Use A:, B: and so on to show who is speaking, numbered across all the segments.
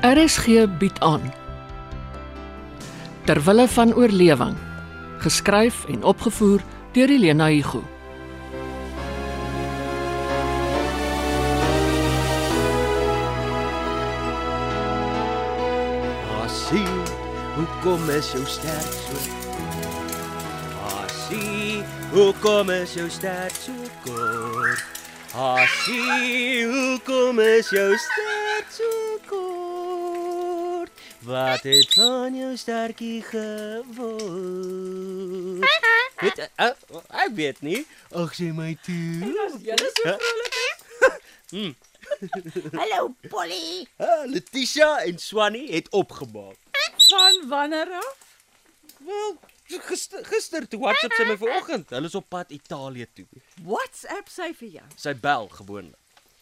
A: RSG bied aan Terwille van oorlewing geskryf en opgevoer deur Elena Igu
B: Asie, hoekom is jou sterk so? Asie, hoekom is jou sterk so kort? Asie, hoekom is jou sterk so kort? Wat het van jou sterkie geword? Weet, uh, uh, ek weet nie. Ag, sê my toe.
C: Julle so vrolik.
D: Hallo Polly.
B: Ah, Letitia en Swanny het opgemaak.
C: Van wanneer af?
B: Wel, gister gister toe WhatsApp sy my vanoggend. Hulle is op pad Italië toe.
C: WhatsApp sy vir jou.
B: Sy bel gewoonlik.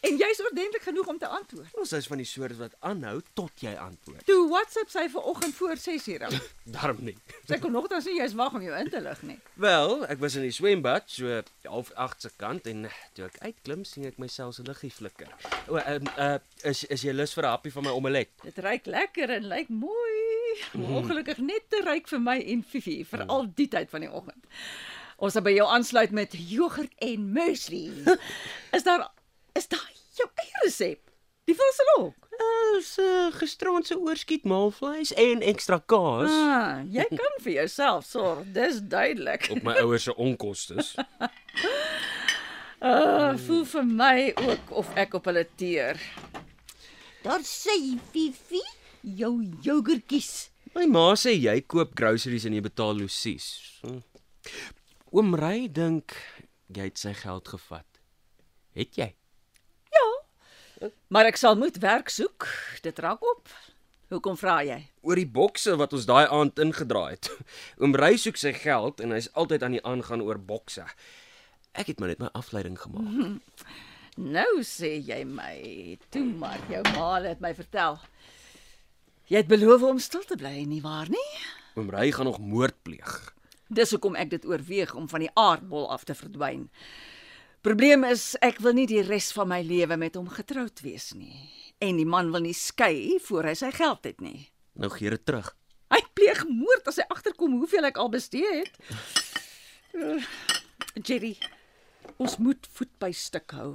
C: En jy's ordentlik genoeg om te antwoord.
B: Ons is van die soort wat aanhou tot jy antwoord.
C: Toe WhatsApp sy vanoggend voor 6:00 af.
B: Daarom nie.
C: Sy kon nogtans nie jy's wag om jou in te lig nie.
B: Wel, ek was in die swembad so half agter se kant en toe ek uitklim sien ek myself se liggie flikker. O, ehm uh, is is jy lus vir 'n happie van my omelet?
C: Dit ruik lekker en lyk mooi. Maar ongelukkig net te ryk vir my en Fifi, veral die tyd van die oggend. Ons sal by jou aansluit met jogurt en muesli. Is daar is daar jou eie resep? Die filsalok.
B: Ons uh, gisterand se oorskiet maalvleis en ekstra kaas
C: Ah, jy kan vir jouself sorg. Dis duidelik.
B: op Ah. my ouers se onkostes.
C: Uh, voel vir my ook of ek op hulle teer.
D: Daar sê Fifi.
C: Jou jogurtjies.
B: My ma sê jy koop groceries en jy betaal losies. Hm. Oom Rey dink jy het sy geld gevat. Het jy?
C: Maar ek sal moet werk soek. Dit raak op. Hoekom vra jy?
B: Oor die bokse wat ons daai aand ingedraai het. Oom Rey soek sy geld en hy's altyd aan die aangaan oor bokse. Ek het maar net my afleiding gemaak.
C: Nou sê jy my, toe maar jou ma het my vertel. Jy het beloof om stil te bly, nie waar nie?
B: Oom Rey gaan nog moord pleeg.
C: Dis hoekom ek dit oorweeg om van die aardbol af te verdwyn. Probleem is ek wil nie die res van my lewe met hom getroud wees nie en die man wil nie skei voor hy sy geld het nie.
B: Nou gee dit terug.
C: Hy pleeg moord as hy agterkom hoeveel ek al bestee het. Uh, Jerry, ons moet voet by stuk hou.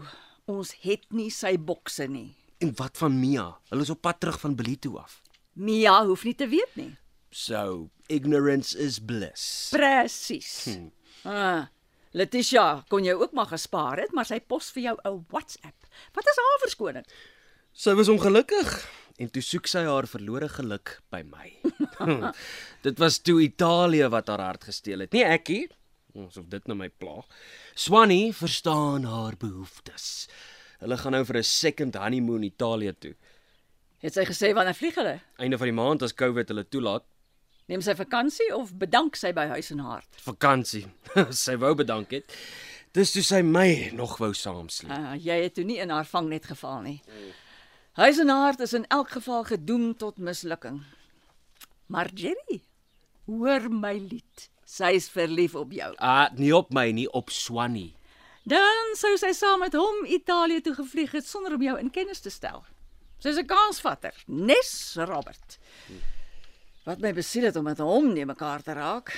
C: Ons het nie sy bokse nie.
B: En wat van Mia? Hulle is op pad terug van Belito af.
C: Mia hoef nie te weet nie.
B: So, ignorance is bliss.
C: Presies. Hmm. Ah, Letitia kon jou ook maar gespaar het, maar sy pos vir jou 'n WhatsApp. Wat is haar verskoning?
B: Sy was ongelukkig en toe soek sy haar verlore geluk by my. dit was toe Italië wat haar hart gesteel het, nie ekkie. Asof dit nou my plaag. Swanny verstaan haar behoeftes. Hulle gaan nou vir 'n second honeymoon Italië toe.
C: Het sy gesê wanneer vlieg hulle?
B: Einde van die maand as COVID hulle toelaat,
C: Neem sy vakansie of bedank sy by huis en hart?
B: vakansie. sy wou bedank het. Dis toe sy my nog wou saamsleep.
C: Ah, jy het toe nie in haar vangnet geval nie. Huis en hart is in elk geval gedoem tot mislukking. Maar Jerry, hoor my lied. Sy is verlief op jou.
B: Ah, nie op my nie, op Swanny.
C: Dan sou sy saam met hom Italië toe gevlieg het sonder om jou in kennis te stel. Sy's 'n kansvatter, nes Robert. Wat my besiel het om met hom nie mekaar te raak.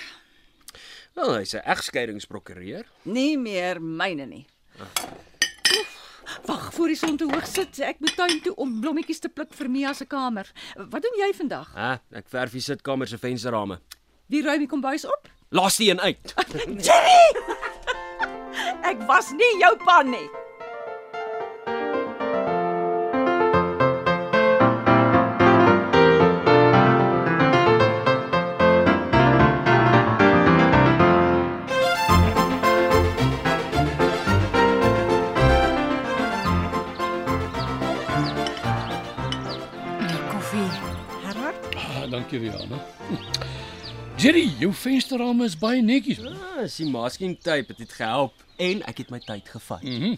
B: Wel, Nou, hy's 'n egskeidingsprokureur.
C: Nie meer myne nie. Oef, Wag, voor die son te hoog sit. Ek moet tuin toe om blommetjies te pluk vir Mia se kamer. Wat doen jy vandag?
B: Ah, ek verf die sitkamer se vensterrame.
C: Wie ruim die kombuis op?
B: Laat die een uit.
C: Ek was nie jou pan nie.
D: My koffie.
C: Herhard,
E: Ah, dankie Rihanna. Hm. Jerry, jou vensterrame is baie netjies. man.
B: Ah, is die masking tape het dit gehelp en ek het my tyd gevat. Mm.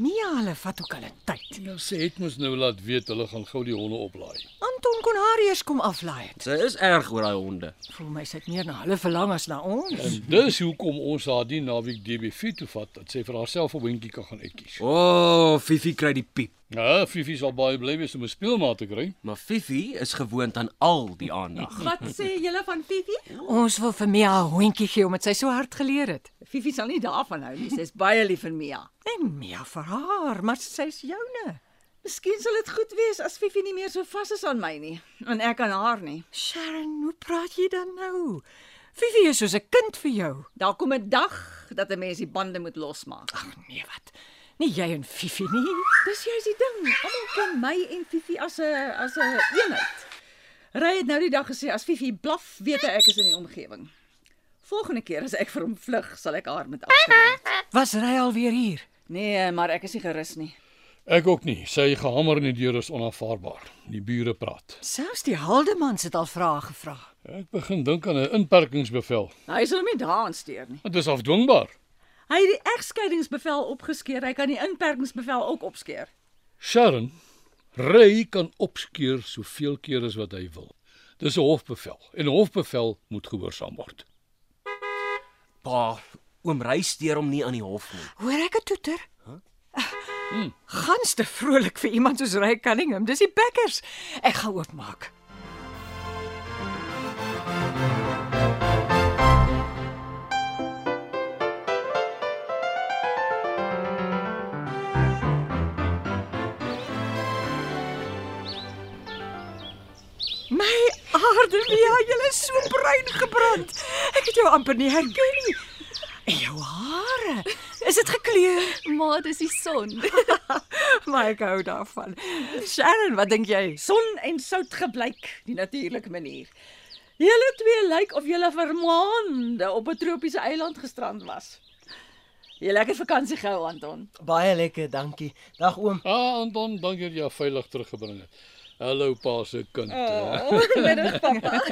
D: Mia hulle vat ook hulle tyd.
E: nou Ja, sy het mos nou laat weet hulle gaan gou die honde oplaai.
D: En
F: Anton kon haar eers kom aflaai het.
B: Sy is erg oor daai honde.
F: Voel my sy het meer na hulle verlang as na ons.
E: En dis hoekom ons haar die naweek DBV toe vat dat sy vir haarself 'n hondjie kan gaan uitkies.
B: O, oh, Fifi kry die piep.
E: Ja, Fifi sal baie bly wees om 'n speelmaat te kry.
B: Maar Fifi is gewoond aan al die aandag.
C: Wat sê julle van Fifi?
F: Ons wil vir Mia 'n hondjie gee omdat sy so hard geleer het.
C: Fifi sal nie daarvan hou nie. Sy is baie lief vir Mia.
F: En Mia vir haar, maar sy's joune.
C: Miskien sal dit goed wees as Fifi nie meer so vas is aan my nie en ek aan haar nie.
F: Sharon, hoe praat jy dan nou? Vivi is soos 'n kind vir jou.
C: Daar kom 'n dag dat 'n mens die bande moet losmaak.
F: Ag nee, wat? Nie jy en Vivi nie.
C: Dis juist die ding. Almal ken my en Fifi as 'n as 'n eenheid. Ry het nou die dag gesê as Fifi blaf, weet hy ek is in die omgewing. Volgende keer as ek vir hom vlug, sal ek haar met afneem.
F: Was ry al weer hier.
C: Nee, maar ek is nie gerus nie.
E: Ek ook nie. Sy gehamer in die deur is onaanvaarbaar. Die bure praat.
F: Selfs die Haldemans het al vrae gevra.
E: Ek begin dink aan 'n inperkingsbevel.
C: Nou, Hy sal hom nie daaraan steur nie.
E: Dit is afdwingbaar.
C: Hy het die egskeidingsbevel opgeskeer. Hy kan die inperkingsbevel ook opskeer.
E: Sharon Ray kan opskeer soveel keer as wat hy wil. Dis 'n hofbevel en 'n hofbevel moet gehoorsaam word.
B: Pa, oom Ry steur hom nie aan die hof nie.
F: Hoor ek 'n toeter? Hmm. Gans te vrolik vir iemand soos Ray Cunningham. Dis die Packers. Ek gaan oopmaak. My aarde, Mia, jy is so bruin gebrand. Ek het jou amper nie herken nie. En
C: Ja,
F: jou hare, is dit gekleur?
G: Maar dis die son.
F: Maar ek hou daarvan. Sharon, wat dink jy?
C: Son en sout gebleik, die natuurlike manier. Julle twee lyk of julle vir maande op 'n tropiese eiland gestrand was. Jy lekker vakansie gehou, Anton.
H: Baie lekker, dankie. Dag oom.
E: Ah, Anton, dankie dat jy haar veilig teruggebring het. Hallo pa se kind.
C: Ah.
E: Uh.
C: Goeiemiddag, pappa.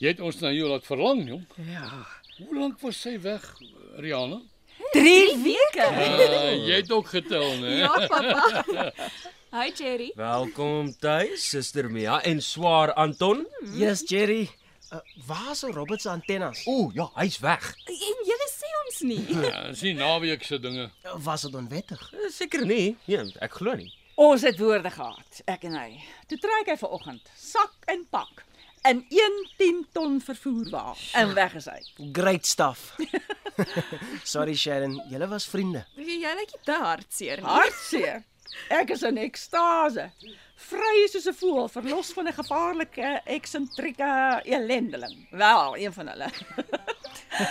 E: Jy het ons na jou laat verlang, jong.
F: Ja.
E: Hoe lank was sy weg, Rihanna?
F: 3 weke.
E: Uh, jy het ook getel, né? Ja.
G: Hi Cherry.
B: Welkom tuis, suster Mia en swaar Anton.
H: Mm. Yes, Jerry. Uh, waar is ou Robert se antennes?
B: O, ja, hy's weg.
G: En julle sê ons nie.
E: ja dis nie naweek se dinge.
H: Uh, Was dit onwettig?
B: Seker nie. Nee, ek glo nie.
C: Ons het woorde gehad, ek en hy. Toe trek hy vanoggend sak en pak in 1 10 ton vervoerwa en weg is hy.
H: Great stuff. Sorry Sharon, julle was vriende.
G: Jy lyk nie te hartseer nie.
C: Hartseer. Ek is in ekstase. Vry soos 'n voël, verlos van 'n gevaarlike, eksentrieke elendeling. Wel, een van hulle.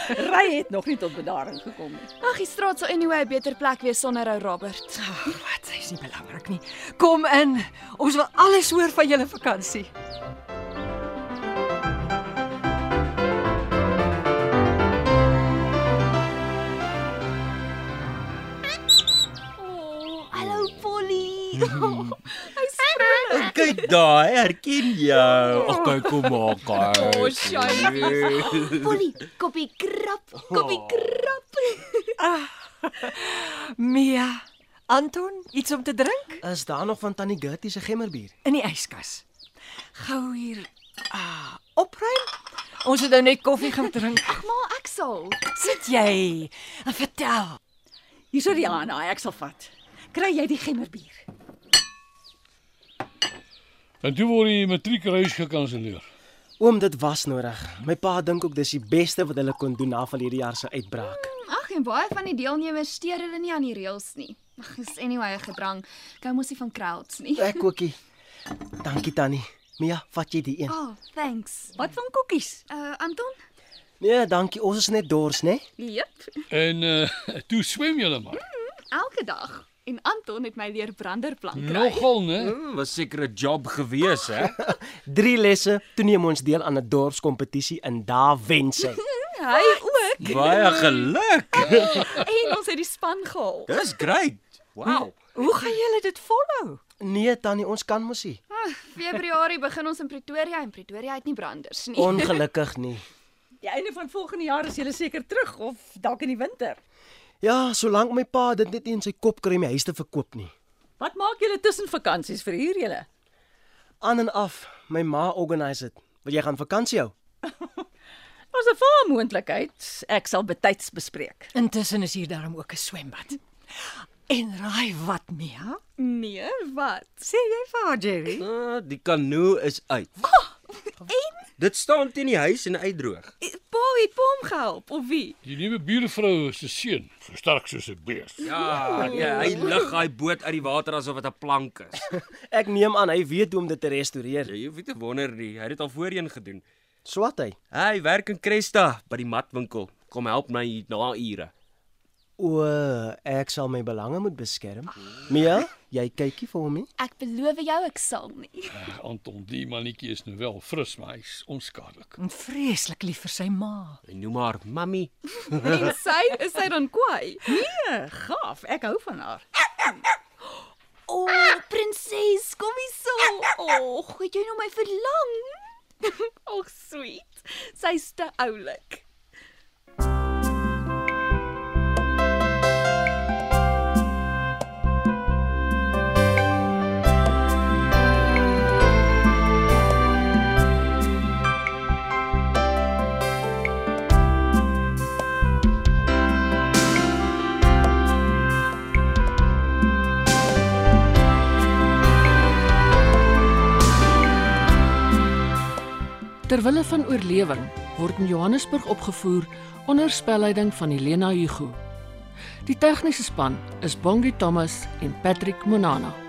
C: Ry het nog nie tot bedaring gekom nie.
G: Ag, die straat sal anyway 'n beter plek wees sonder ou Robert.
F: Ag, wat, sy is nie belangrik nie. Kom in. Ons wil alles hoor van julle vakansie.
G: Oh, hallo Polly. Hy spring.
B: Kyk daai, herken jou. Ag, kyk hoe maak hy.
H: Oh,
G: O, Shiny.
D: Polly, koppie krap, koppie krap.
F: Mia, Anton, iets om te drink
H: Is daar nog van Tannie Gertie se gemmerbier?
F: in die yskas. Gou hier. Ah, opruim. Ons het nou net koffie gaan drink.
G: Ag, maar ek sal.
F: Sit jy en vertel.
C: Hierso Rihanna, ek sal vat. Kry jy die gemmerbier?
E: En toe word die matriekreis gekanselleer.
H: Oom, dit was nodig. My pa dink ook dis die beste wat hulle kon doen na van hierdie jaar se uitbraak.
G: Ag, en baie van die deelnemers steur hulle nie aan die reëls nie. Ag, dis anyway 'n gedrang. Gou mosie van crowds nie.
H: Ek ookie. Dankie Tannie. Mia, vat jy die een?
G: Oh, thanks.
C: Wat van koekies?
G: Uh Anton?
H: Nee, dankie. Ons is net dors, né? Nee?
G: Jep,
E: En uh toe swem julle maar.
G: elke dag. En Anton het my leer branderplank kry.
E: Nogal, né?
B: Hmm, was seker 'n job gewees, hè?
H: Drie lesse. Toe neem ons deel aan 'n dorpskompetisie en daar wen sy.
G: Hy ook.
B: Baie geluk.
G: En ons het die span gehaal.
B: Dis great. Wow.
F: Hoe gaan julle dit volhou?
H: Nee, Tannie, ons kan mos nie.
G: Ah, Februarie begin ons in Pretoria en Pretoria het nie branders
H: Oh.
G: nie.
H: Ongelukkig nie.
C: Die einde van volgende jaar is jy seker terug of dalk in die winter.
H: Ja, solank my pa dit net nie in sy kop kry om die huis te verkoop nie.
C: Wat maak julle tussen vakansies vir hier julle?
H: aan en af. My ma organise dit. Wil jy gaan vakansie hou?
I: Ons het 'n moontlikheid. Ek sal betyds bespreek.
C: Intussen is hier daarom ook 'n swembad. En raai wat, Mia?
J: Nee, wat?
C: Sê jy vir haar, Jerry?
B: Ah, die kanoe is uit. En dit staan teen die huis en uitdroog.
J: Pa het pa hom gehelp of wie?
E: Die nuwe buurvrou se seun, so sterk soos 'n bees.
B: Ja, ja, hy lig daai boot uit die water asof dit 'n plank is.
H: Ek neem aan hy weet hoe om dit te restoreer.
B: Ja, Jy hoef nie te wonder nie, hy het dit al voorheen gedoen.
H: Swat hy.
B: Hy werk in Cresta by die matwinkel. Kom help my hier na ure.
H: O, ek sal my belange moet beskerm. Mia, jy kykie vir hom nie?
G: Ek beloof jou ek sal nie.
E: Ah, Anton, die mannetjie is nou wel fris, maar hy's onskadelik.
C: En vreeslik lief vir sy ma.
B: Hy noem haar mammy.
J: En sy, is sy dan kwaai?
I: Eh, Gaaf, ek hou van haar.
G: O, oh, prinses, kom hier so. O, oh, het jy nou my verlang?
J: Ag, sweet. Sy's te oulik.
F: Terwille van oorlewing word in Johannesburg opgevoer onder spelleiding van Helena Hugo. Die tegniese span is Bongi Thomas en Patrick Monana.